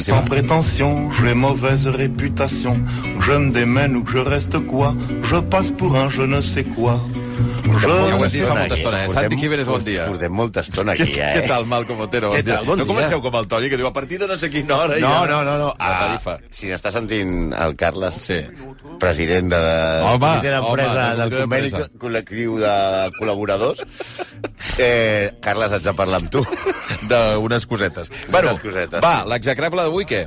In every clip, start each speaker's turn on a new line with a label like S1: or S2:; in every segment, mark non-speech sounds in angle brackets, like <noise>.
S1: Sans prétention, j'ai mauvaise réputation. Je me démène ou que je reste quoi Je passe pour un je ne sais quoi.
S2: Ja ho
S1: Je...
S2: hem dit fa molta estona, eh? Santi
S3: Portem-
S2: Jiménez, bon dia.
S3: Portem molta estona
S2: Què,
S3: aquí, ja, eh?
S2: què tal, Malcom Otero? Bon
S3: Què
S2: dia.
S3: tal? Bon
S2: no
S3: dia.
S2: comenceu com el Toni, que diu a partir de no sé quina hora
S3: No,
S2: ja...
S3: no, no, no.
S2: La
S3: Ah,
S2: tarifa.
S3: si n'està sentint el Carles,
S2: Sí.
S3: president de,
S2: Home,
S3: comitè d'empresa
S2: home, del
S3: del
S2: comitè
S3: conveni
S2: d'empresa.
S3: co- col·lectiu de col·laboradors, eh, Carles, haig de parlar amb tu.
S2: D'unes cosetes.
S3: Bueno, cosetes.
S2: va, l'execrable d'avui, què?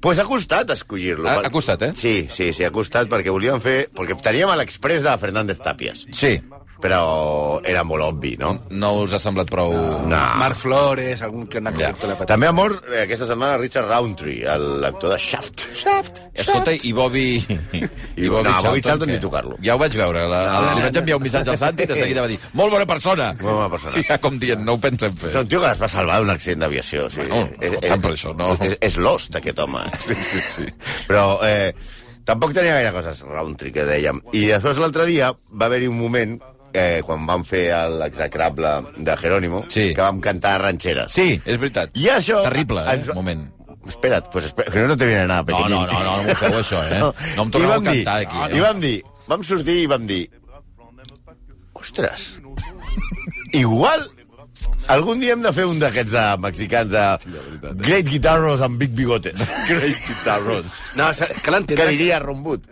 S3: Pues ha costat escollir-lo.
S2: Ha-
S3: per-
S2: ha costat, eh?
S3: Sí, sí, sí, ha costat, perquè volíem fer... Perquè teníem a l'express de Fernández Tàpies,
S2: Sí.
S3: però era molt obvi, no?
S2: No us ha semblat prou...
S3: No.
S4: Marc Flores, algun que n'ha costat la patata.
S3: També ha mort eh, aquesta setmana Richard Roundtree, el- l'actor de Shaft. Shaft!
S2: Escolta, i Bobby...
S3: I- no, Bobby Charlton
S2: què?
S3: ni tocar-lo.
S2: Ja ho vaig veure. La, la, li vaig enviar un missatge al Santi i de seguida va dir molt bona persona.
S3: Molt bona persona.
S2: <laughs> Ja com dient, no ho pensem fer.
S3: És un tio que es va salvar d'un accident d'aviació. O sigui,
S2: Bueno, no tant per això, no.
S3: És, és l'os d'aquest home. Sí,
S2: <laughs> sí, sí.
S3: Però eh, tampoc tenia gaire coses, Roundtree, que dèiem. I després l'altre dia va haver-hi un moment eh, quan vam fer l'execrable de Jerónimo,
S2: Sí.
S3: que vam cantar ranxeres.
S2: Sí, és veritat.
S3: I això...
S2: Terrible, eh?
S3: ens va-
S2: Moment.
S3: Espera't, pues espera, que no te viene nada,
S2: No, no,
S3: pequeñín.
S2: no, no, no m'ho feu, això, eh? No em torneu
S3: I
S2: a
S3: vam
S2: cantar,
S3: dir,
S2: aquí, eh?
S3: I vam dir, vam sortir i vam dir... Ostres, igual algun dia hem de fer un d'aquests de mexicans de
S2: eh?"
S3: Great Guitarros amb Big Bigotes. Great Guitarros.
S4: No, és que
S3: <laughs> Que
S4: l'entendre...
S3: diria
S2: <laughs>
S3: Rombut.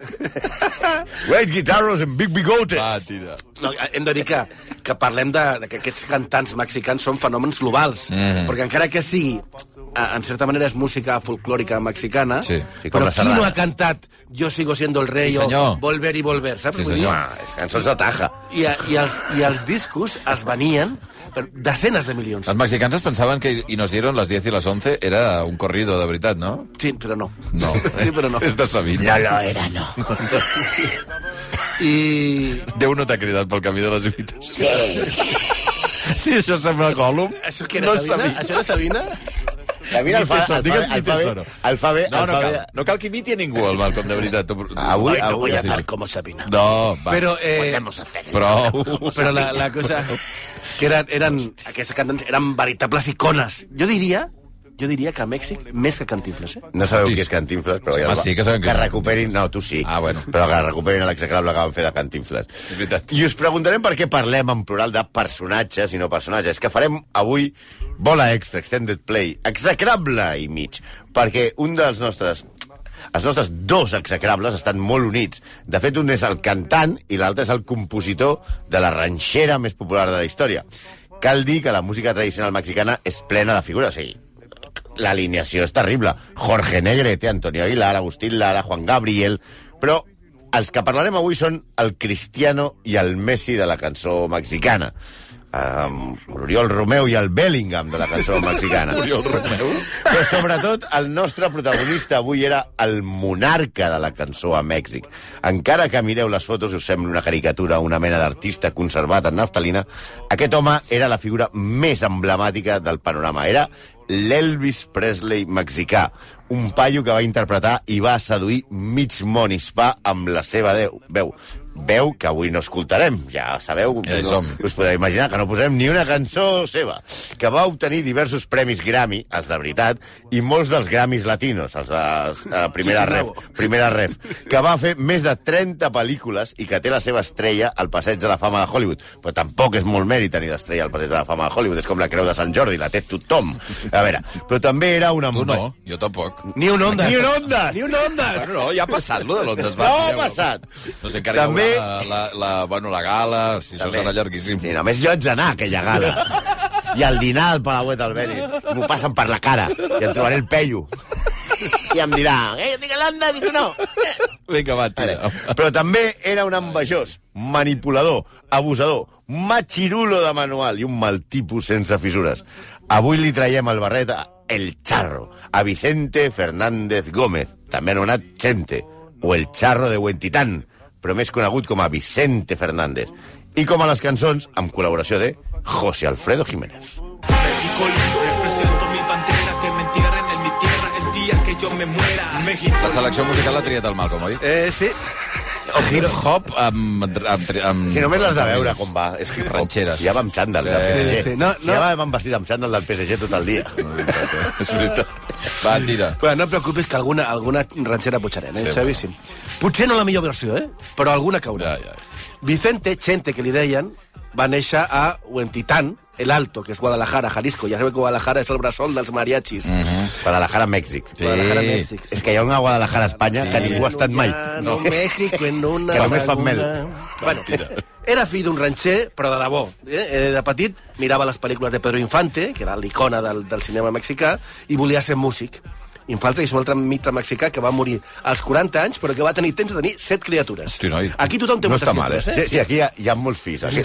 S3: Great Guitarros amb Big Bigotes.
S2: Va, tira.
S4: No, hem de dir que, que parlem de, de que aquests cantants mexicans són fenòmens globals,
S2: Eh.
S4: mm. perquè encara que sigui a- en certa manera és música folclòrica mexicana,
S2: Sí, sí,
S3: com
S4: però
S3: les
S4: qui no
S3: sardanes.
S4: ha cantat Yo sigo siendo el rei
S2: Sí,
S4: o
S2: senyor.
S4: Volver i Volver, saps?
S2: Sí,
S4: Vull dir,
S2: senyor.
S3: Home, és cançons de taja.
S4: I, a- i, els, I els discos es venien per desenes de milions.
S2: Els mexicans es pensaven que i nos dieron les 10 i les 11 era un corrido, de veritat, no?
S4: Sí, però no.
S2: No.
S4: <laughs> Sí, però no.
S2: És de Sabina.
S3: No lo era, no.
S4: I
S2: Déu no t'ha cridat pel camí de les imitacions. Sí. <laughs> Sí, això sembla Gollum.
S4: això que
S2: no
S4: era Sabina?
S2: sabia.
S4: Això era Sabina?
S3: Mira,
S2: Mi tesoro, digues mi tesoro.
S3: Alfabe, ah,
S2: No, no cal, no cal que imiti a ningú, el Malcolm, de veritat.
S3: Avui-
S2: no,
S3: avui
S2: sí.
S3: hablar
S4: com Sabina.
S2: No, va.
S4: Però, eh,
S2: Prou.
S4: però la, la <laughs> cosa... Que eren, eren, aquests cantants eren veritables icones. Jo diria jo diria que a Mèxic, més que Cantinflas, eh?
S3: No sabeu
S2: Sí.
S3: qui és Cantinflas, però ja
S2: Home,
S3: el va-
S2: sí que sabem qui
S3: que
S2: és.
S3: recuperin... No, tu sí.
S2: Ah, bueno.
S3: Però que recuperin l'execrable que van fer de Cantinflas.
S2: És veritat.
S3: I us preguntarem per què parlem en plural de personatges i no personatges. Que farem avui bola extra, extended play, execrable i mig. Perquè un dels nostres els nostres dos execrables estan molt units. De fet, un és el cantant i l'altre és el compositor de la ranxera més popular de la història. Cal dir que la música tradicional mexicana és plena de figures, sí, l'alineació és terrible. Jorge Negrete, Antonio Aguilar, Agustín Lara, Juan Gabriel... Però els que parlarem avui són el Cristiano i el Messi de la cançó mexicana. Um, L'Oriol Romeu i el Bellingham de la cançó mexicana.
S2: <laughs> Oriol Romeu?
S3: Però sobretot el nostre protagonista avui era el monarca de la cançó a Mèxic. Encara que mireu les fotos i us sembla una caricatura, una mena d'artista conservat en naftalina, aquest home era la figura més emblemàtica del panorama. Era l'Elvis Presley mexicà, un paio que va interpretar i va seduir mig món hispà amb la seva deu, veu. Veu que avui no escoltarem, ja sabeu,
S2: Ja hi
S3: no-
S2: som.
S3: us podeu imaginar que no posem ni una cançó seva, que va obtenir diversos premis Grammy, els de veritat, i molts dels Grammys latinos, els de eh, primera,
S4: Chichi
S3: ref,
S4: Bravo.
S3: primera ref, que va fer més de 30 pel·lícules i que té la seva estrella al Passeig de la Fama de Hollywood. Però tampoc és molt mèrit tenir l'estrella al Passeig de la Fama de Hollywood, és com la creu de Sant Jordi, la té tothom. A veure, però també era una...
S2: Tu no, jo tampoc.
S4: Ni un onda.
S3: Ni un ondes!
S4: Ni un onda.
S2: Bueno, no, ja ha passat, lo de Londres.
S3: No ha
S2: tireu-ho.
S3: passat.
S2: No sé, encara També...
S3: També-
S2: hi haurà la, la, la, bueno, la gala, o sigui, això serà llarguíssim.
S3: Sí, només jo haig d'anar a aquella
S2: <laughs>
S3: gala. I el dinar al Palauet al Beni. M'ho passen per la cara. I em trobaré el
S2: <laughs>
S3: pello. I em dirà, eh, estic a Londres i tu no.
S2: Vinga, va, tira.
S3: Però també era un envejós, manipulador, abusador, machirulo de manual i un mal tipus sense fissures. Avui li traiem el barret a El Charro, a Vicente Fernández Gómez, també anomenat Chente, o El Charro de Huentitán, però més conegut com a Vicente Fernández. I com a les cançons, amb col·laboració de José Alfredo Jiménez.
S5: México libre, presento mi bandera, que me entierren en mi tierra el día que yo me muera. México
S2: La selecció musical l'ha triat el Malcolm, oi?
S4: Eh, sí.
S2: o hip-hop amb, amb, amb...
S3: Si només l'has de veure com va. És que
S2: Ranxeres.
S3: Ja va amb xandall del PSG.
S4: Sí, sí. No, no.
S3: Ja va- van vestit amb xandall del PSG tot el dia.
S2: <laughs> És veritat. Va, tira.
S4: Però no et preocupis que alguna, alguna ranxera pujarem, eh,
S2: Sí,
S4: sí, Xavi? Sí. Potser no la millor versió, eh? Però alguna caurà.
S2: Ja, ja.
S4: Vicente Chente, que li deien, va néixer a Huentitán, El Alto, que és Guadalajara, Jalisco. Ja sabeu que Guadalajara és el bressol dels mariachis. Mm -hmm.
S3: Guadalajara, Mèxic.
S2: Sí.
S4: Guadalajara, Mèxic.
S3: És que hi ha una Guadalajara, Espanya, que ningú ha estat mai.
S4: No, México, en una...
S3: Que només fan mel.
S4: laguna. Bueno, era fill d'un ranxer, però de debò. Eh? Eh, De petit mirava les pel·lícules de Pedro Infante, que era l'icona del, del cinema mexicà, i volia ser músic. Infante és un altre mitre mexicà que va morir als 40 anys, però que va tenir temps de tenir set criatures.
S2: Hosti, noi.
S4: Aquí tothom té
S3: No
S4: moltes
S3: està mal, eh? Sí,
S4: criatures,
S3: sí, aquí hi ha, hi ha molts fills. Aquí.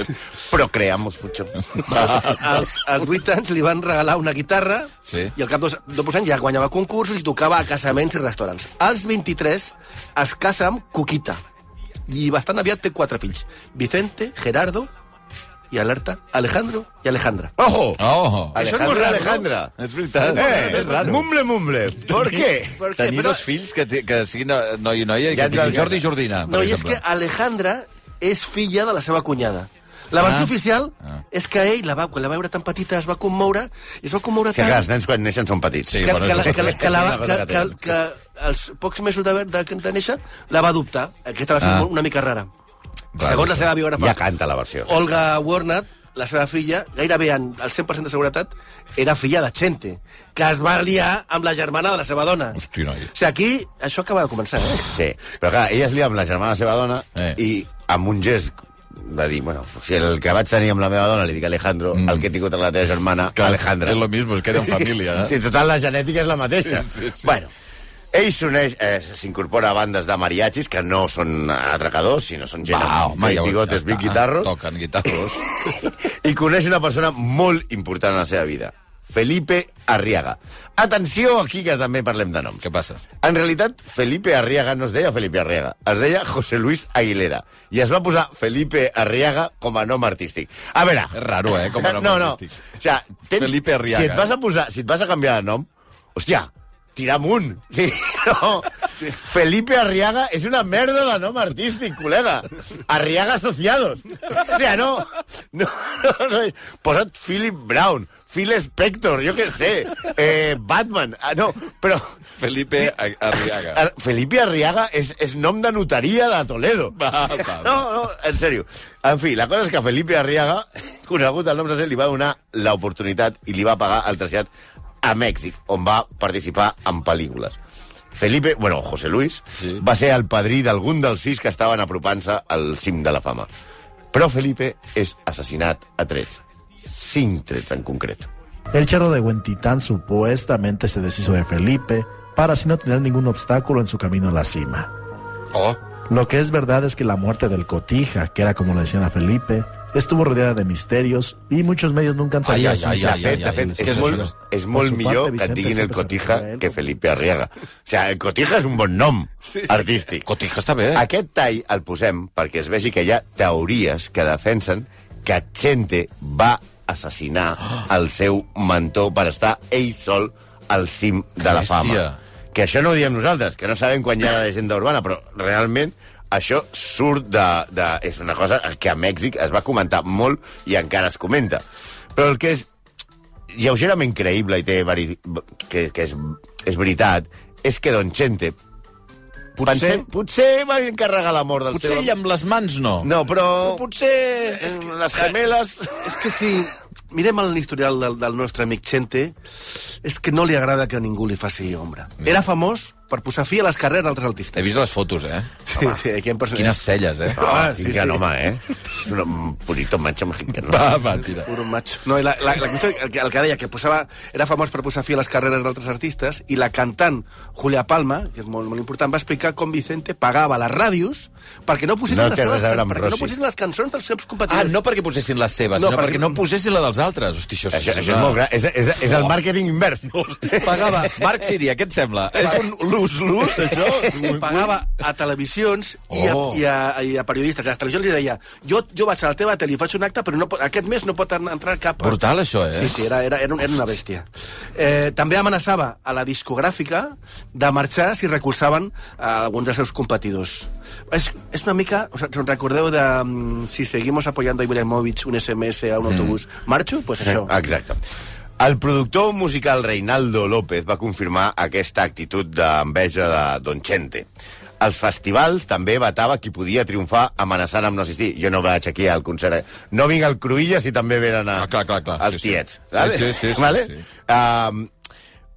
S3: Però creamos mucho.
S4: als, als 8 anys li van regalar una guitarra
S2: Sí.
S4: i al cap dos, de pocs anys ja guanyava concursos i tocava a casaments i restaurants. Als 23 es casa amb Cuquita i bastant aviat té quatre fills. Vicente, Gerardo i alerta, Alejandro i Alejandra.
S3: Ojo!
S2: Oh!
S4: Això és molt
S3: Alejandra,
S4: raro,
S3: Alejandra.
S2: És veritat.
S3: Eh, mumble, mumble. ¿Por qué?
S4: Per què?
S2: Tenir
S4: Però-
S2: dos fills que, te- que siguin eh, noi i noia i
S3: Ja
S2: que
S3: et
S2: siguin
S3: dic,
S2: Jordi i Jordina, Ah, per
S4: No, i és
S2: exemple.
S4: que Alejandra és filla de la seva cunyada. La versió
S2: Ah.
S4: oficial
S2: Ah.
S4: és que ell la va, quan la va veure tan petita es va commoure i es va commoure
S3: Sí,
S4: tant...
S3: clar, els nens quan neixen són petits.
S2: Sí.
S4: que,
S2: bueno,
S4: que, la,
S2: és
S4: que, la- que, la, va-
S3: una cosa
S4: que,
S3: que
S4: que,
S3: tenen.
S4: que als pocs mesos de, de, de néixer la va adoptar. Aquesta va ser
S2: Ah.
S4: ah. una mica rara.
S2: Rara.
S4: Segons la seva biògrafa,
S3: Ja canta la versió.
S4: Olga Warner, la seva filla, gairebé en, al 100% de seguretat, era filla de Chente, que es va liar amb la germana de la seva dona. O
S2: Hosti, noi.
S4: sigui, aquí això acaba de començar, eh?
S3: Sí, però clar, ella es lia amb la germana de la seva dona
S2: Eh.
S3: i amb un gest de dir, bueno, si el que vaig tenir amb la meva dona li dic Alejandro, mm. el que he tingut amb la teva germana,
S2: Clar,
S3: Alejandra.
S2: és lo mismo, es queda en família, eh?
S3: Sí, total, la genètica és la mateixa.
S2: Sí, sí, sí.
S3: Bueno, ell s'uneix, eh, s'incorpora a bandes de mariachis que no són atracadors, sinó són gent
S2: Va,
S3: amb
S2: home, ja ho-
S3: bigotes,
S2: ja
S3: big
S2: està.
S3: guitarros,
S2: Toquen guitarros.
S3: i coneix una persona molt important en la seva vida, Felipe Arriaga. Atenció aquí, que també parlem de noms.
S2: Què passa?
S3: En realitat, Felipe Arriaga no es deia Felipe Arriaga, es deia José Luis Aguilera. I es va posar Felipe Arriaga com a nom artístic. A veure...
S2: És raro, eh, com a nom
S3: no, no.
S2: artístic.
S3: O sea, tens...
S2: Felipe Arriaga. eh.
S3: Si et vas a, posar, si et vas a canviar de nom, hòstia, tira amunt. <laughs> Sí, no. Felipe Arriaga és una merda de nom artístic, col·lega. Arriaga Asociados. O sea, no. no, no, no. Posa't Philip Brown, Phil Spector, jo què sé, eh, Batman. Ah, no, però...
S2: Felipe A- Arriaga.
S3: Ar- Eh, Felipe Arriaga és, és nom de notaria de Toledo.
S2: Va, va, va.
S3: No, no, en sèrio. En fi, la cosa és que Felipe Arriaga, <laughs> conegut el nom de ser, li va donar l'oportunitat i li va pagar el trasllat a Mèxic, on va participar en pel·lícules. Felipe, bueno, José Luis,
S2: Sí.
S3: sí. va ser el padrí d'algun dels sis que estaven apropant-se al cim de la fama. Però Felipe és assassinat a trets. Cinc trets en concret.
S6: El charro de Huentitán supuestamente se deshizo de Felipe para así no tener ningún obstáculo en su camino a la cima.
S2: Oh,
S6: Lo que es verdad es que la muerte del Cotija, que era como le decían a Felipe, estuvo rodeada de misterios y muchos medios nunca han
S2: Ay,
S6: sabido
S2: ay,
S6: su
S2: ay,
S3: De
S2: ay,
S6: ubicación.
S3: fet, de
S2: ai,
S3: fet,
S2: ai,
S3: és
S2: sí,
S3: molt,
S2: sí,
S3: és molt
S6: Por su
S3: millor
S6: parte,
S3: que et
S6: Vicente
S3: diguin el
S6: siempre se
S3: Cotija
S6: refería a él
S3: que Felipe Arriaga. O sigui, el Cotija és un bon nom artístic.
S2: Cotija està bé.
S3: Aquest tall el posem perquè es vegi que hi ha teories que defensen que Chente va assassinar el seu mentor per estar ell sol al cim de la fama.
S2: Hòstia.
S3: Que això no ho diem nosaltres, que no sabem quan hi ha la llegenda urbana, però realment això surt de, de... És una cosa que a Mèxic es va comentar molt i encara es comenta. Però el que és lleugerament creïble i té vari... que, que és, és veritat és que Don Chente potser, potser va encarregar la mort del
S2: Potser
S3: seu...
S2: ell amb les mans no.
S3: No, però...
S2: Però potser...
S3: És que... Les gemeles...
S4: eh, És que si mirem l'historial del, del nostre amic Chente, és que no li agrada que ningú li faci ombra. Era famós per posar fi a les carreres d'altres
S2: He
S4: artistes.
S2: vist les fotos, eh?
S4: Sí, sí, aquí hem personat.
S2: Quines celles, eh?
S4: Ah, sí,
S3: sí, sí.
S4: sí.
S3: home, eh? És un bonito macho mexicano.
S2: Va, va, tira.
S4: Puro macho. No, i la, la, la, qüestió- el, que, el que deia, que posava, era famós per posar fi a les carreres d'altres artistes, i la cantant Julia Palma, que és molt, molt important, va explicar com Vicente pagava les ràdios perquè no posessin,
S3: No
S4: les,
S3: té
S4: seves,
S3: res a veure amb
S4: perquè no
S3: Rossi.
S4: posessin les cançons dels seus
S2: Ah,
S4: competidors.
S2: no perquè posessin les seves,
S4: No,
S2: no, sinó
S4: perquè-
S2: perquè no posessin la dels altres. Hosti, això,
S3: Oh. Això, això és molt gran. És, és, és el màrqueting invers.
S2: Pagava. Marc Siri, què et sembla? És un
S3: luz, luz, això?
S4: <laughs> pagava a televisions i a,
S3: Oh.
S4: i a, i a periodistes. Les televisions li deia, jo, jo vaig a la teva tele i faig un acte, però no, pot- aquest mes no pot en- entrar cap...
S2: Brutal, això, eh?
S4: Sí, sí, era, era, era, un- era una bèstia. Eh, també amenaçava a la discogràfica de marxar si recolzaven eh, alguns dels seus competidors. És, és una mica... Us us recordeu de... mm, Si seguimos apoyando a Ibrahimovic un SMS a un autobús, marxo? Pues
S3: Sí,
S4: això.
S3: Mm. Eh, Exacte. El productor musical Reinaldo López va confirmar aquesta actitud d'enveja de Don Chente. Als festivals també batava qui podia triomfar amenaçant amb no assistir. Jo no vaig aquí al concert. eh? No vinc al Cruïlla si també venen a,
S2: Ah, clar, clar, clar.
S3: els
S2: Sí, sí.
S3: tiets.
S2: Sí, sí, sí, sí,
S3: vale?
S2: sí.
S3: Um,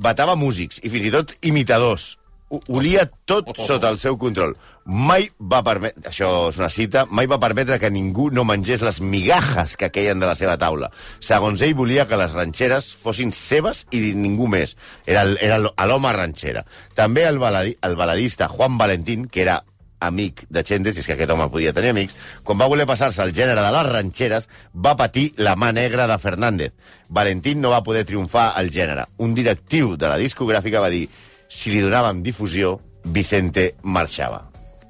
S3: batava músics i fins i tot imitadors. Ho- Olia tot
S2: Oh.
S3: sota el seu control. Mai va permetre, això és una cita, mai va permetre que ningú no mengés les migajas que queien de la seva taula. Segons ell, volia que les ranxeres fossin seves i ningú més. Era, el- era el- l'home ranxera. També el, baladi, el baladista Juan Valentín, que era amic de Chendes, si és que aquest home podia tenir amics, quan va voler passar-se al gènere de les ranxeres, va patir la mà negra de Fernández. Valentín no va poder triomfar al gènere. Un directiu de la discogràfica va dir si li donàvem difusió, Vicente marxava.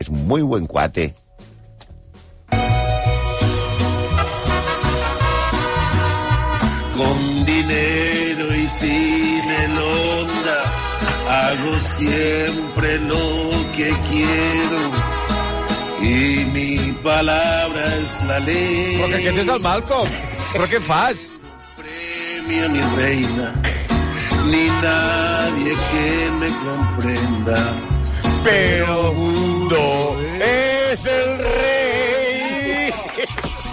S3: És un muy buen cuate.
S1: Con dinero y sin el ondas, hago siempre lo que quiero. Y mi palabra es la ley.
S2: Però que aquest és el Malcolm. Però què fas?
S1: premio ni reina, ni nadie que me comprenda.
S3: Pero mundo es el rei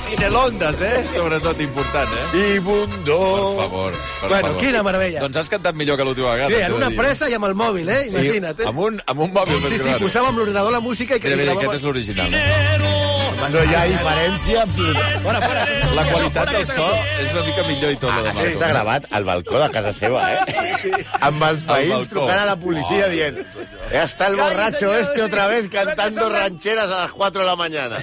S2: Cinelondes, eh? Sobretot important, eh?
S3: y mundo...
S2: Per favor, per
S4: Bueno,
S2: favor.
S4: quina meravella.
S2: Doncs has cantat millor que l'última vegada.
S4: Sí,
S2: t'he
S4: en
S2: de
S4: una
S2: dir.
S4: pressa i amb el mòbil, eh?
S2: Sí,
S4: Imagina't, eh?
S2: Amb un, amb un mòbil.
S4: Sí, sí,
S2: claro.
S4: posàvem amb l'ordinador la música i que
S2: Mira,
S4: li
S2: mira,
S4: gravava-
S2: aquest és l'original. eh?
S3: No hi ha diferència absoluta.
S2: Fora, fora. La qualitat del so és una mica millor i tot. Ah,
S3: Això està gravat al balcó de casa seva, eh? Amb els
S2: Al
S3: veïns
S2: balcó.
S3: trucant a la policia dient «Està el borracho este otra vez cantando rancheras a las 4 de la mañana».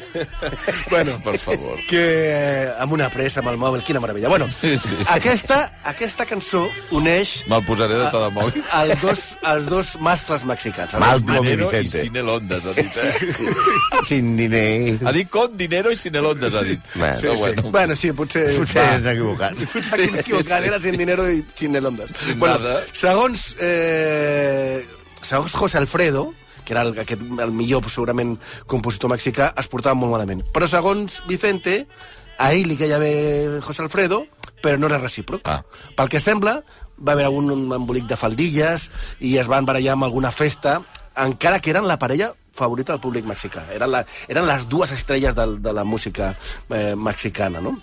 S2: Bueno, per favor. <laughs>
S4: que amb una pressa amb el mòbil, quina meravella. Bueno,
S2: Sí, sí.
S4: Aquesta, aquesta cançó uneix
S2: Me'l posaré de tot el mòbil.
S4: el dos, els dos mascles mexicans.
S3: Malcolm i
S2: Dinero i
S3: Vicente.
S2: Cinelondes, ha dit, eh?
S3: Sin dinero.
S2: Ha dit con dinero i Cinelondes, ha dit.
S3: Bueno,
S2: Però
S4: Sí. Bueno, sí, potser...
S3: Potser
S4: va.
S3: és equivocat.
S4: Aquí sí, equivocadera sin dinero i sin el ondas.
S2: Sin
S4: Bueno,
S2: nada.
S4: segons, eh, segons José Alfredo, que era el, aquest, el millor, segurament, compositor mexicà, es portava molt malament. Però segons Vicente, a ell li queia bé José Alfredo, però no era recíproc.
S2: Ah.
S4: Pel que sembla, va haver algun embolic de faldilles i es van barallar amb alguna festa, encara que eren la parella favorita del públic mexicà. Eren, la, eren les dues estrelles del, de la música eh, mexicana, no?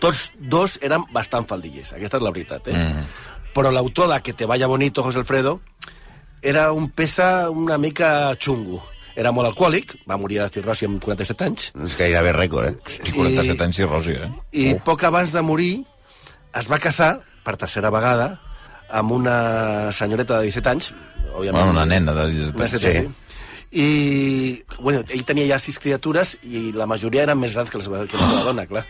S4: tots dos eren bastant faldillers, aquesta és la veritat, eh? Mm. Però l'autor de Que te vaya bonito, José Alfredo, era un peça una mica xungo. Era molt alcohòlic, va morir de cirrosi amb 47 anys,
S3: És gairebé rècord, eh?
S2: Hosti, 47 anys i Rosi, eh?
S4: i oh. poc abans de morir es va casar, per tercera vegada, amb una senyoreta de 17 anys, òbviament.
S2: Bueno, una nena de 17
S4: Una
S2: anys.
S4: setena, sí. I, bueno, ell tenia ja sis criatures i la majoria eren més grans que la seva, que la seva dona, clar.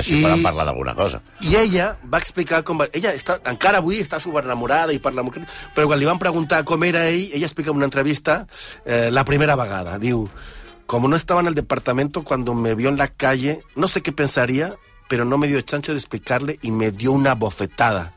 S3: Així
S4: I-
S3: poden parlar d'alguna cosa.
S4: I ella va explicar com va... Ella està, encara avui està superenamorada i parla molt... Però quan li van preguntar com era ell, ella explica en una entrevista eh, la primera vegada. Diu, como no estaba en el departamento cuando me vio en la calle, no sé qué pensaría, pero no me dio chance de explicarle y me dio una bofetada.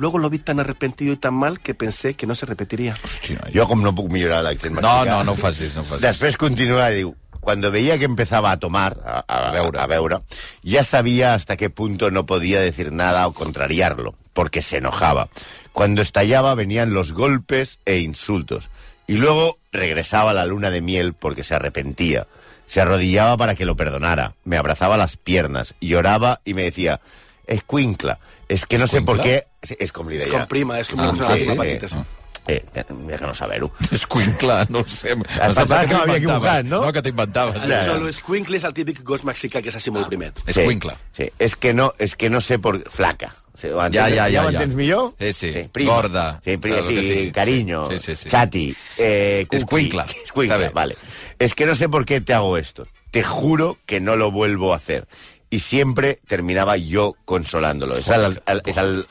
S4: Luego lo vi tan arrepentido y tan mal que pensé que no se repetiría.
S2: Hosti, noi.
S3: Jo com no puc millorar l'accent
S2: No,
S3: mexicà...
S2: no, no ho facis, no ho facis.
S3: Després continua i diu... Cuando veía que empezaba a tomar, a, a-
S2: A veure.
S3: a veure, ya sabía hasta qué punto no podía decir nada o contrariarlo, porque se enojaba. Cuando estallaba venían los golpes e insultos. Y luego regresaba a la luna de miel porque se arrepentía. Se arrodillaba para que lo perdonara. Me abrazaba las piernas, lloraba y me decía, es cuincla. Es que no sé por qué...
S2: ¿Escuincla?
S3: Es, es com li
S4: És
S3: deia.
S4: com prima, és com
S3: Ah,
S4: una cosa
S3: sí,
S4: de
S3: sí.
S4: patites.
S3: Ah. Eh, mira que no saber-ho.
S2: És cuincla, no ho sé. Em
S3: pensaves que
S2: t'ho
S3: m'havia
S2: inventaves.
S3: equivocat, no?
S2: No, que t'inventaves.
S4: El Cholo Escuincle és el típic gos mexicà que és així molt primet.
S2: És
S3: Sí,
S2: cuincla.
S3: Sí, és que no, és que no sé por... Flaca. O sigui, ho entens-
S2: Ja, ja, ja,
S3: ho
S2: ja.
S3: entens millor?
S2: Sí, sí.
S3: prima.
S2: Gorda.
S3: Sí, prima,
S2: Claro que
S3: sí,
S2: sí.
S3: cariño,
S2: Sí, sí, sí.
S3: chati, eh, cookie. <laughs>
S2: Escuincla.
S3: Escuincla,
S2: Está bien.
S3: vale. Es que no sé por qué te hago esto. Te juro que no lo vuelvo a hacer. Y siempre terminaba yo consolándolo. Es al, al- es al-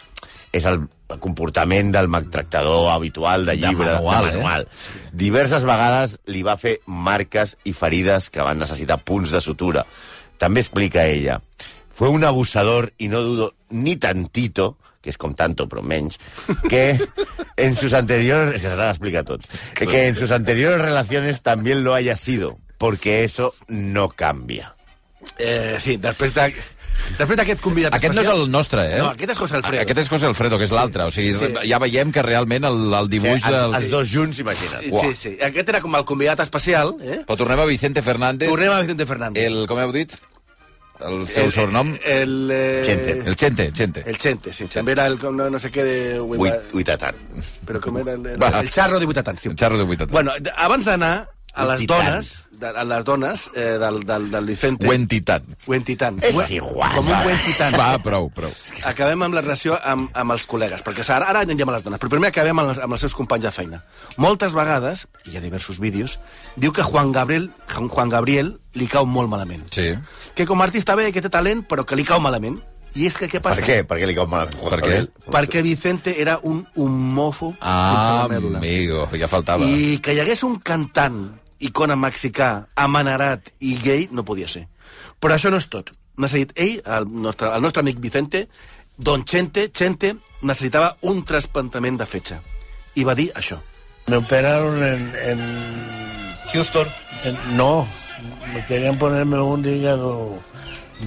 S3: és el comportament del maltractador habitual de llibre, de manual. De manual. Eh? Diverses vegades li va fer marques i ferides que van necessitar punts de sutura. També explica ella. Fue un abusador y no dudo ni tantito que es con tanto, pero menys, que en sus anteriores... Es que se la explica todo. Que en sus anteriores relaciones también lo haya sido, porque eso no cambia.
S4: Eh, sí, després de... Després d'aquest convidat
S2: Aquest no és
S4: especial...
S2: el nostre, eh?
S4: No, aquest és José Alfredo.
S2: Aquest és José Alfredo, que és l'altre. O sigui,
S4: Sí.
S2: ja veiem que realment el, el
S3: Que
S2: dibuix
S3: el-
S2: del...
S3: els dos junts, imagina't.
S4: Sí,
S3: Uah.
S4: Sí, sí. Aquest era com el convidat especial, eh?
S2: Però tornem a Vicente Fernández.
S4: Tornem a Vicente Fernández.
S2: El, com heu dit? El seu
S4: El-
S2: sobrenom?
S4: El... Eh...
S3: Chente.
S2: El Chente, Chente.
S4: El Chente, sí. També era el... com No, no sé què de...
S3: Ui, ui, tatar.
S4: Però com era el... El,
S2: Va.
S4: el xarro de Vuitatan, sí.
S2: El xarro de Vuitatan.
S4: Bueno, d- abans d'anar a les
S3: Vuitatan.
S4: dones, de, a les dones eh, del, del, del Vicente...
S2: Buen titán.
S4: Huentitan.
S3: És
S4: Hue-
S3: igual,
S4: Com un
S3: va.
S4: huentitan.
S2: Va, prou, prou.
S4: Acabem amb la relació amb, amb els col·legues, perquè ara, ara anirem a les dones, però primer acabem amb els, amb els seus companys de feina. Moltes vegades, i hi ha diversos vídeos, diu que Juan Gabriel, Juan Juan Gabriel li cau molt malament.
S2: Sí.
S4: Que com a artista bé, que té talent, però que li cau malament. I és que què
S3: Per
S4: passa?
S3: què? Per què li cau mal?
S2: Per què?
S4: Perquè Vicente era un homòfob
S2: Ah,
S4: fins a la mèdula.
S2: amigo, ja faltava. I...
S4: I que hi hagués un cantant icona mexicà, amanerat i gay no podia ser. Però això no és tot. Necessit, ell, el nostre, el nostre amic Vicente, Don Chente, Chente, necessitava un trasplantament de fetge. I va dir això.
S7: Me operaron en, en Houston. no, me querían ponerme un hígado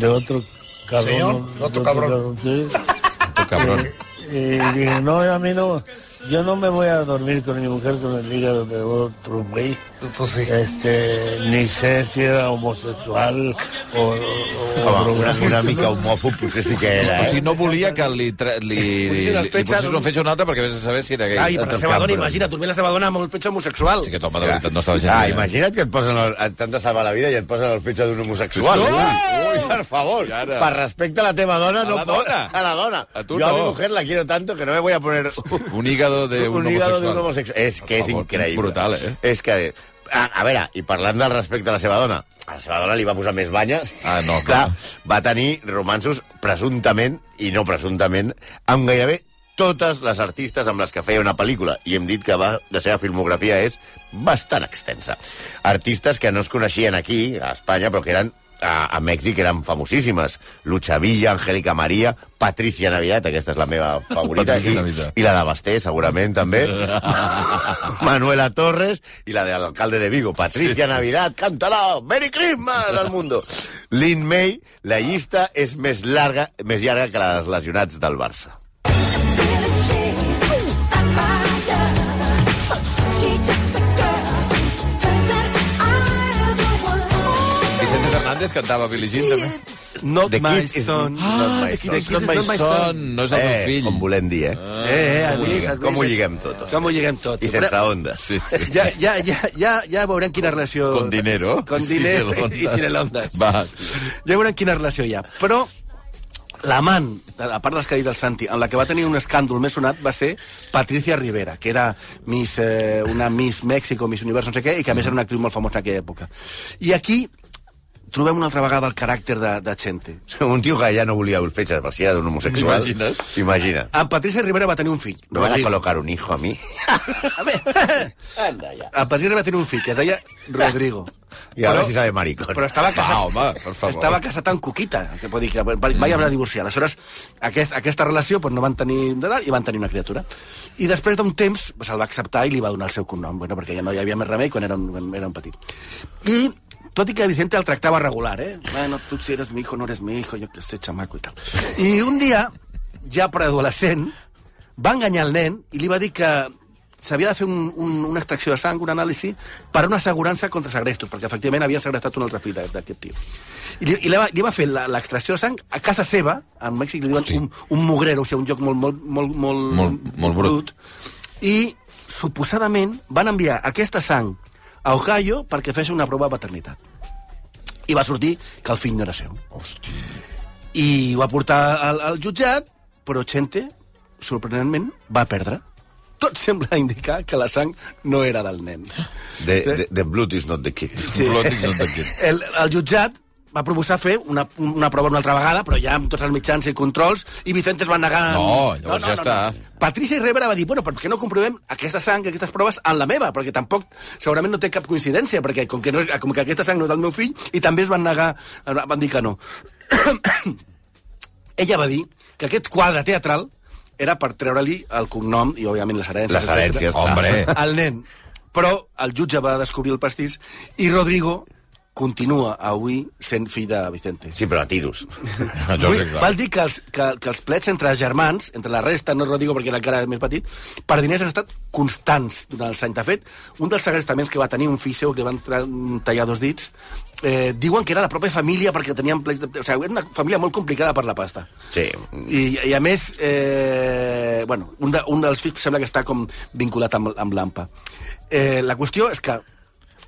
S7: de otro cabrón. de otro cabrón. sí.
S2: Tu cabrón.
S7: Y dije, no, a mí no, yo no me voy a dormir con mi mujer con el hígado de otro güey. Pues Este, ni sé si era homosexual o, o- o
S3: Home, una,
S7: drogadicto.
S3: una mica homòfob potser sí que era,
S2: O sigui,
S3: eh?
S2: no volia que li... Tra... li... li,
S4: posessin el
S2: li
S4: fetge
S2: posessin un
S4: d'un-
S2: fetge a un altre perquè vés a saber si era gay.
S4: Ai, Ah, per
S2: Tot
S4: la seva
S2: cap,
S4: dona,
S2: però-
S4: imagina't, dormir la seva dona amb un fetge homosexual.
S2: Hosti, que toma, de veritat, no estava gent.
S3: Ah,
S2: bé.
S3: imagina't que et posen el, et- t'han de salvar la vida i et posen el fetge d'un homosexual. Ui, ui, per favor,
S2: I ara?
S3: per respecte a la teva dona,
S2: A
S3: no
S2: la
S3: pot-
S2: dona.
S3: A la dona.
S2: A tu
S3: jo a
S2: no.
S3: mi mujer la quiero tanto que no me voy a poner
S2: Un hígado de un,
S3: hígado d'un
S2: homosexual.
S3: homosexual. És que
S2: Per
S3: és
S2: favor,
S3: increïble.
S2: brutal, eh?
S3: És que... A, a veure, i parlant del respecte a la seva dona, a la seva dona li va posar més banyes.
S2: Ah, no, clar.
S3: Va tenir romansos presumptament, i no presumptament, amb gairebé totes les artistes amb les que feia una pel·lícula. I hem dit que va, la seva filmografia és bastant extensa. Artistes que no es coneixien aquí, a Espanya, però que eren a, a Mèxic eren famosíssimes. Lucha Villa, Angélica María, Patricia Navidad, aquesta és la meva favorita,
S2: Patricia
S3: i,
S2: Navidad.
S3: i la de Basté, segurament,
S2: <laughs>
S3: també. Manuela Torres i la de l'alcalde de Vigo, Patricia Navidad, cántala, Merry Christmas al mundo. Lin May, la llista és més llarga, més llarga que la dels lesionats del Barça.
S2: Vicente Fernández cantava Billie Jean, també.
S4: Not
S3: The
S4: my
S3: kid is
S4: son. Ah,
S3: not my son.
S4: the kid is not my son.
S2: no és el meu fill. Ah.
S3: Eh, Com volem dir, eh?
S4: Eh, eh,
S3: Com ho
S4: avís,
S3: lliguem,
S4: avís.
S3: com ho lliguem tot.
S4: Com ho lliguem tot.
S3: I sense ondes.
S2: Sí, sí.
S4: Ja, ja, ja, ja, ja veurem quina relació...
S2: Con dinero.
S4: Con dinero i Cinelondas.
S2: Va.
S4: Ja veurem quina relació hi ha. Però l'amant, a part dels que ha dit el Santi, en la que va tenir un escàndol més sonat va ser Patricia Rivera, que era Miss, eh, una Miss México, Miss Universo, no sé què, i que a més era una actriu molt famosa en aquella època. I aquí trobem una altra vegada el caràcter de, de Chente.
S3: Un tio que <laughs> ja no volia el fetge, per si era d'un homosexual.
S2: Imagina't.
S3: Imagina.
S4: En Patricia Rivera va tenir un fill.
S3: Me van a
S4: Rodrigo.
S3: colocar un hijo a mi.
S4: A veure, en Patricia Rivera va tenir un fill, que es deia Rodrigo.
S3: I a veure si sabe maricón.
S4: Però estava casat.
S2: Va, home, per favor.
S4: Estava casat amb Cuquita, que pot dir que va- mai haurà divorciar. Aleshores, aquest, aquesta relació doncs, no van tenir de dalt i van tenir una criatura. I després d'un temps se'l va acceptar i li va donar el seu cognom, bueno, perquè ja no hi havia més remei quan era un, quan era un petit. I tot i que Vicente el tractava regular, eh? Bueno, tu si eres mi hijo, no eres mi hijo, jo que sé, chamaco i tal. I un dia, ja preadolescent, va enganyar el nen i li va dir que s'havia de fer un, un, una extracció de sang, un anàlisi, per una assegurança contra segrestos, perquè efectivament havia segrestat un altre fill d'a- d'aquest tio. I li, i li, va, li va fer la- l'extracció de sang a casa seva, a Mèxic, li diuen un, un mugrero, o sigui, un lloc molt, molt, molt, molt,
S2: Molt- molt brut.
S4: I, suposadament, van enviar aquesta sang a Ohio perquè fes una prova de paternitat. I va sortir que el fill no era seu i ho va portar al, al jutjat, però Chente, sorprenentment, va perdre. Tot sembla indicar que la sang no era del nen.
S3: The, the, the blood is not the kid.
S2: Blood is not the kid.
S4: El, el jutjat va proposar fer una, una prova una altra vegada, però ja amb tots els mitjans i controls, i Vicente es va negar...
S2: No, llavors ja està.
S4: Patricia Rivera va dir, bueno, per què no comprovem aquesta sang, aquestes proves, en la meva? Perquè tampoc, segurament no té cap coincidència, perquè com que, no, és- com que aquesta sang no és del meu fill, i també es van negar, van dir que no. <coughs> Ella va dir que aquest quadre teatral era per treure-li el cognom i, òbviament, les herències.
S3: Les
S4: etcètera,
S3: herències, clar.
S2: Hombre.
S4: al nen. Però el jutge va descobrir el pastís i Rodrigo continua avui sent fill de Vicente.
S3: Sí, però a tiros. Ah,
S2: Jo
S4: Vull-
S2: sé, clar.
S4: Val dir que els, que, que els plets entre germans, entre la resta, no Rodrigo perquè era encara més petit, per diners han estat constants durant els anys. De fet, un dels segrestaments que va tenir un fill seu que van tra- tallar dos dits, eh, diuen que era la pròpia família perquè tenien plets... De... O sigui, era una família molt complicada per la pasta.
S3: Sí.
S4: I, i a més, eh, bueno, un, de, un dels fills sembla que està com vinculat amb, amb l'AMPA. Eh, la qüestió és que...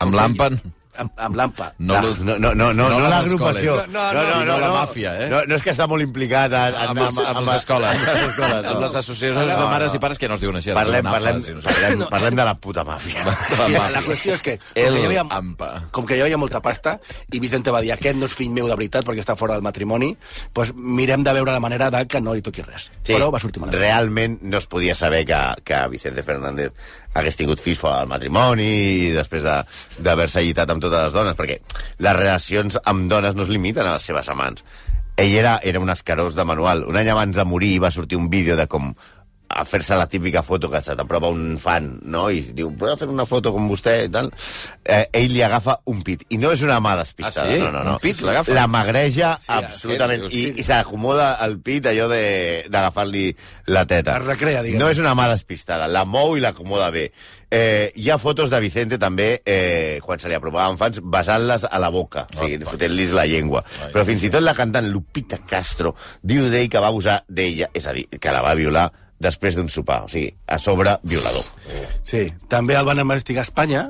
S2: Amb l'àmpan?
S4: Amb, amb l'AMPA.
S2: No,
S4: la-
S2: los-
S3: Ah, No, no, no,
S2: No
S3: no, no,
S2: les
S3: l'agrupació.
S2: escoles.
S4: No, no,
S2: no, la màfia, eh?
S3: No, no és que està molt implicat en, en,
S2: Amb, amb, amb, les escoles. Amb les escoles. Amb les associacions
S3: No,
S2: de
S3: no.
S2: mares i pares que no es diuen així.
S3: Parlem,
S2: Anafas,
S3: parlem,
S2: i no sé què.
S3: parlem, parlem de la puta
S2: <laughs>
S3: màfia.
S4: Sí,
S2: màfia.
S4: <laughs> la qüestió és que... com
S2: El
S4: que hi
S2: Ampa.
S4: Com que hi havia molta pasta, i Vicente va dir, aquest no és fill meu de veritat perquè està fora del matrimoni, doncs mirem de veure la manera de que no hi toqui res.
S3: Sí,
S4: Però va sortir malament.
S3: realment no es podia saber que, que Vicente Fernández hagués tingut fills fora del matrimoni i després de- d'haver-se de, llitat amb totes les dones, perquè les relacions amb dones no es limiten a les seves amants. Ell era, era un escarós de manual. Un any abans de morir va sortir un vídeo de com a fer-se la típica foto que se t'aprova un fan, no? I diu, puc fer una foto com vostè? I tal. Eh, ell li agafa un pit. I no és una mala despistada.
S2: Ah, sí?
S3: No, no, no.
S2: Un pit l'agafa?
S3: La magreja
S2: Sí,
S3: sí, absolutament.
S2: aquest,
S3: I,
S2: dius, sí.
S3: i s'acomoda al pit allò de- d'agafar-li la teta.
S4: Es recrea, diguem.
S3: No és una mala despistada, la mou i l'acomoda bé. Eh, hi ha fotos de Vicente també, eh, quan se li aprovaven fans, besant-les a la boca, o sigui,
S2: Ai,
S3: fotent-lis la llengua.
S2: Ai,
S3: Però fins i tot la cantant Lupita Castro diu d'ell que va abusar d'ella, és a dir, que la va violar després d'un sopar, o sigui, a sobre violador.
S4: Sí, també el van investigar a Espanya,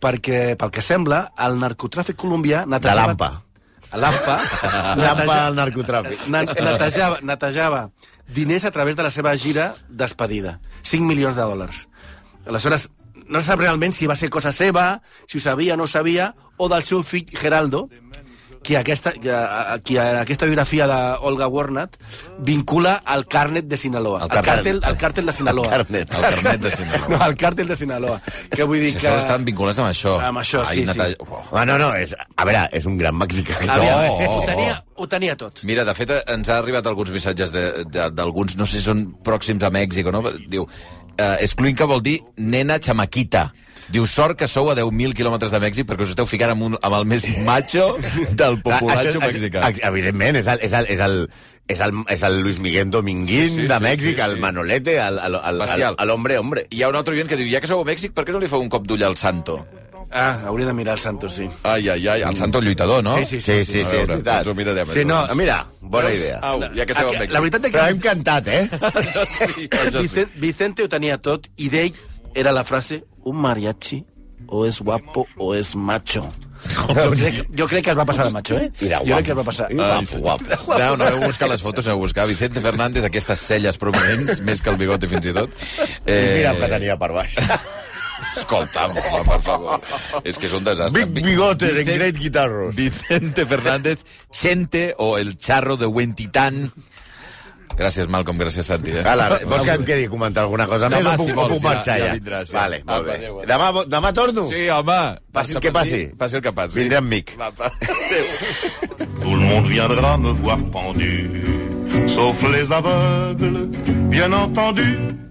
S4: perquè, pel que sembla, el narcotràfic colombià
S3: De
S4: netejava...
S3: l'AMPA.
S4: A L'AMPA.
S3: L'AMPA
S4: neteja-
S3: del narcotràfic.
S4: Na- netejava, netejava diners a través de la seva gira despedida. 5 milions de dòlars. Aleshores, no se sap realment si va ser cosa seva, si ho sabia o no ho sabia, o del seu fill Geraldo, que aquesta, que, a- a- que a aquesta biografia d'Olga Warnat vincula al càrnet de Sinaloa.
S2: Al
S4: Al
S2: càrtel.
S4: càrtel, al càrtel de Sinaloa.
S3: Al càrtel.
S2: El carnet de
S4: No,
S2: Sinaloa.
S4: al càrtel de Sinaloa. Que vull dir
S2: Que...
S4: que...
S2: Això estan vinculats amb això.
S4: Amb això, sí, sí.
S2: Oh.
S3: Ah, no, no, és, a veure, és un gran mexicà.
S4: Aviam,
S2: No.
S4: ho, tenia, ho tenia tot.
S2: Mira, de fet, eh, ens ha arribat alguns missatges de- de- d'alguns, no sé si són pròxims a Mèxic o no, diu, eh, excluint que vol dir nena chamaquita. Diu, sort que sou a 10.000 quilòmetres de Mèxic perquè us esteu ficant amb, un, amb el més macho del populatxo
S3: Ah, Això-
S2: mexicà.
S3: això- Evidentment, és el, és el, és el, és el, és el Luis Miguel Dominguín
S2: Sí, sí,
S3: de
S2: sí,
S3: Mèxic,
S2: sí,
S3: el
S2: sí.
S3: Manolete, el, el, el,
S2: Bestial.
S3: el, el hombre, hombre.
S2: Hi ha un altre oient que diu, ja que sou a Mèxic, per què no li feu un cop d'ull al Santo?
S4: Ah, hauria de mirar el Santos, sí.
S2: Ai, ai, ai, el Santo lluitador, no?
S4: Sí,
S3: Sí, sí, sí,
S2: A
S3: sí
S2: veure,
S3: és veritat.
S2: doncs ho mirarem,
S3: Sí, no,
S2: llavors.
S3: mira, bona idea.
S2: Au, ja que esteu a Mèxic.
S4: La veritat és que...
S3: Però hem cantat, eh?
S2: Això <laughs> sí, això sí.
S4: Vicente, Vicente ho tenia tot i d'ell era la frase un mariachi o és guapo o és macho. Jo crec, jo crec que es va passar de macho, eh?
S3: Era
S4: Jo
S3: guapo.
S4: crec que es va passar.
S3: Guapo,
S2: sí.
S3: guapo.
S2: No, no heu buscat les fotos, heu buscat Vicente Fernández, aquestes celles prominents, més que el bigote fins i tot.
S3: Eh... Mira el que tenia per
S2: <laughs>
S3: baix.
S2: Escolta'm, home, per favor. És que és un desastre.
S3: Big bigotes en
S2: Vicente-
S3: great guitarros.
S2: Vicente Fernández, Chente o el charro de Huentitán. Gràcies, Malcolm, gràcies, Santi. Eh?
S3: Ala, vols que em quedi a comentar alguna cosa
S2: Demà,
S3: més o
S2: si
S3: puc, o
S2: vols,
S3: puc
S2: ja-
S3: marxar ja?
S2: ja vindràs, ja.
S3: Vale, molt
S2: Apa,
S3: bé.
S2: adéu, adéu.
S3: Demà, demà torno?
S2: Sí, home.
S3: Passi el que passi.
S2: Passi el que passi.
S3: Vindré amb mic.
S2: Va, va. Adéu.
S1: Tout le monde viendra me voir pendu, sauf les aveugles, bien entendu.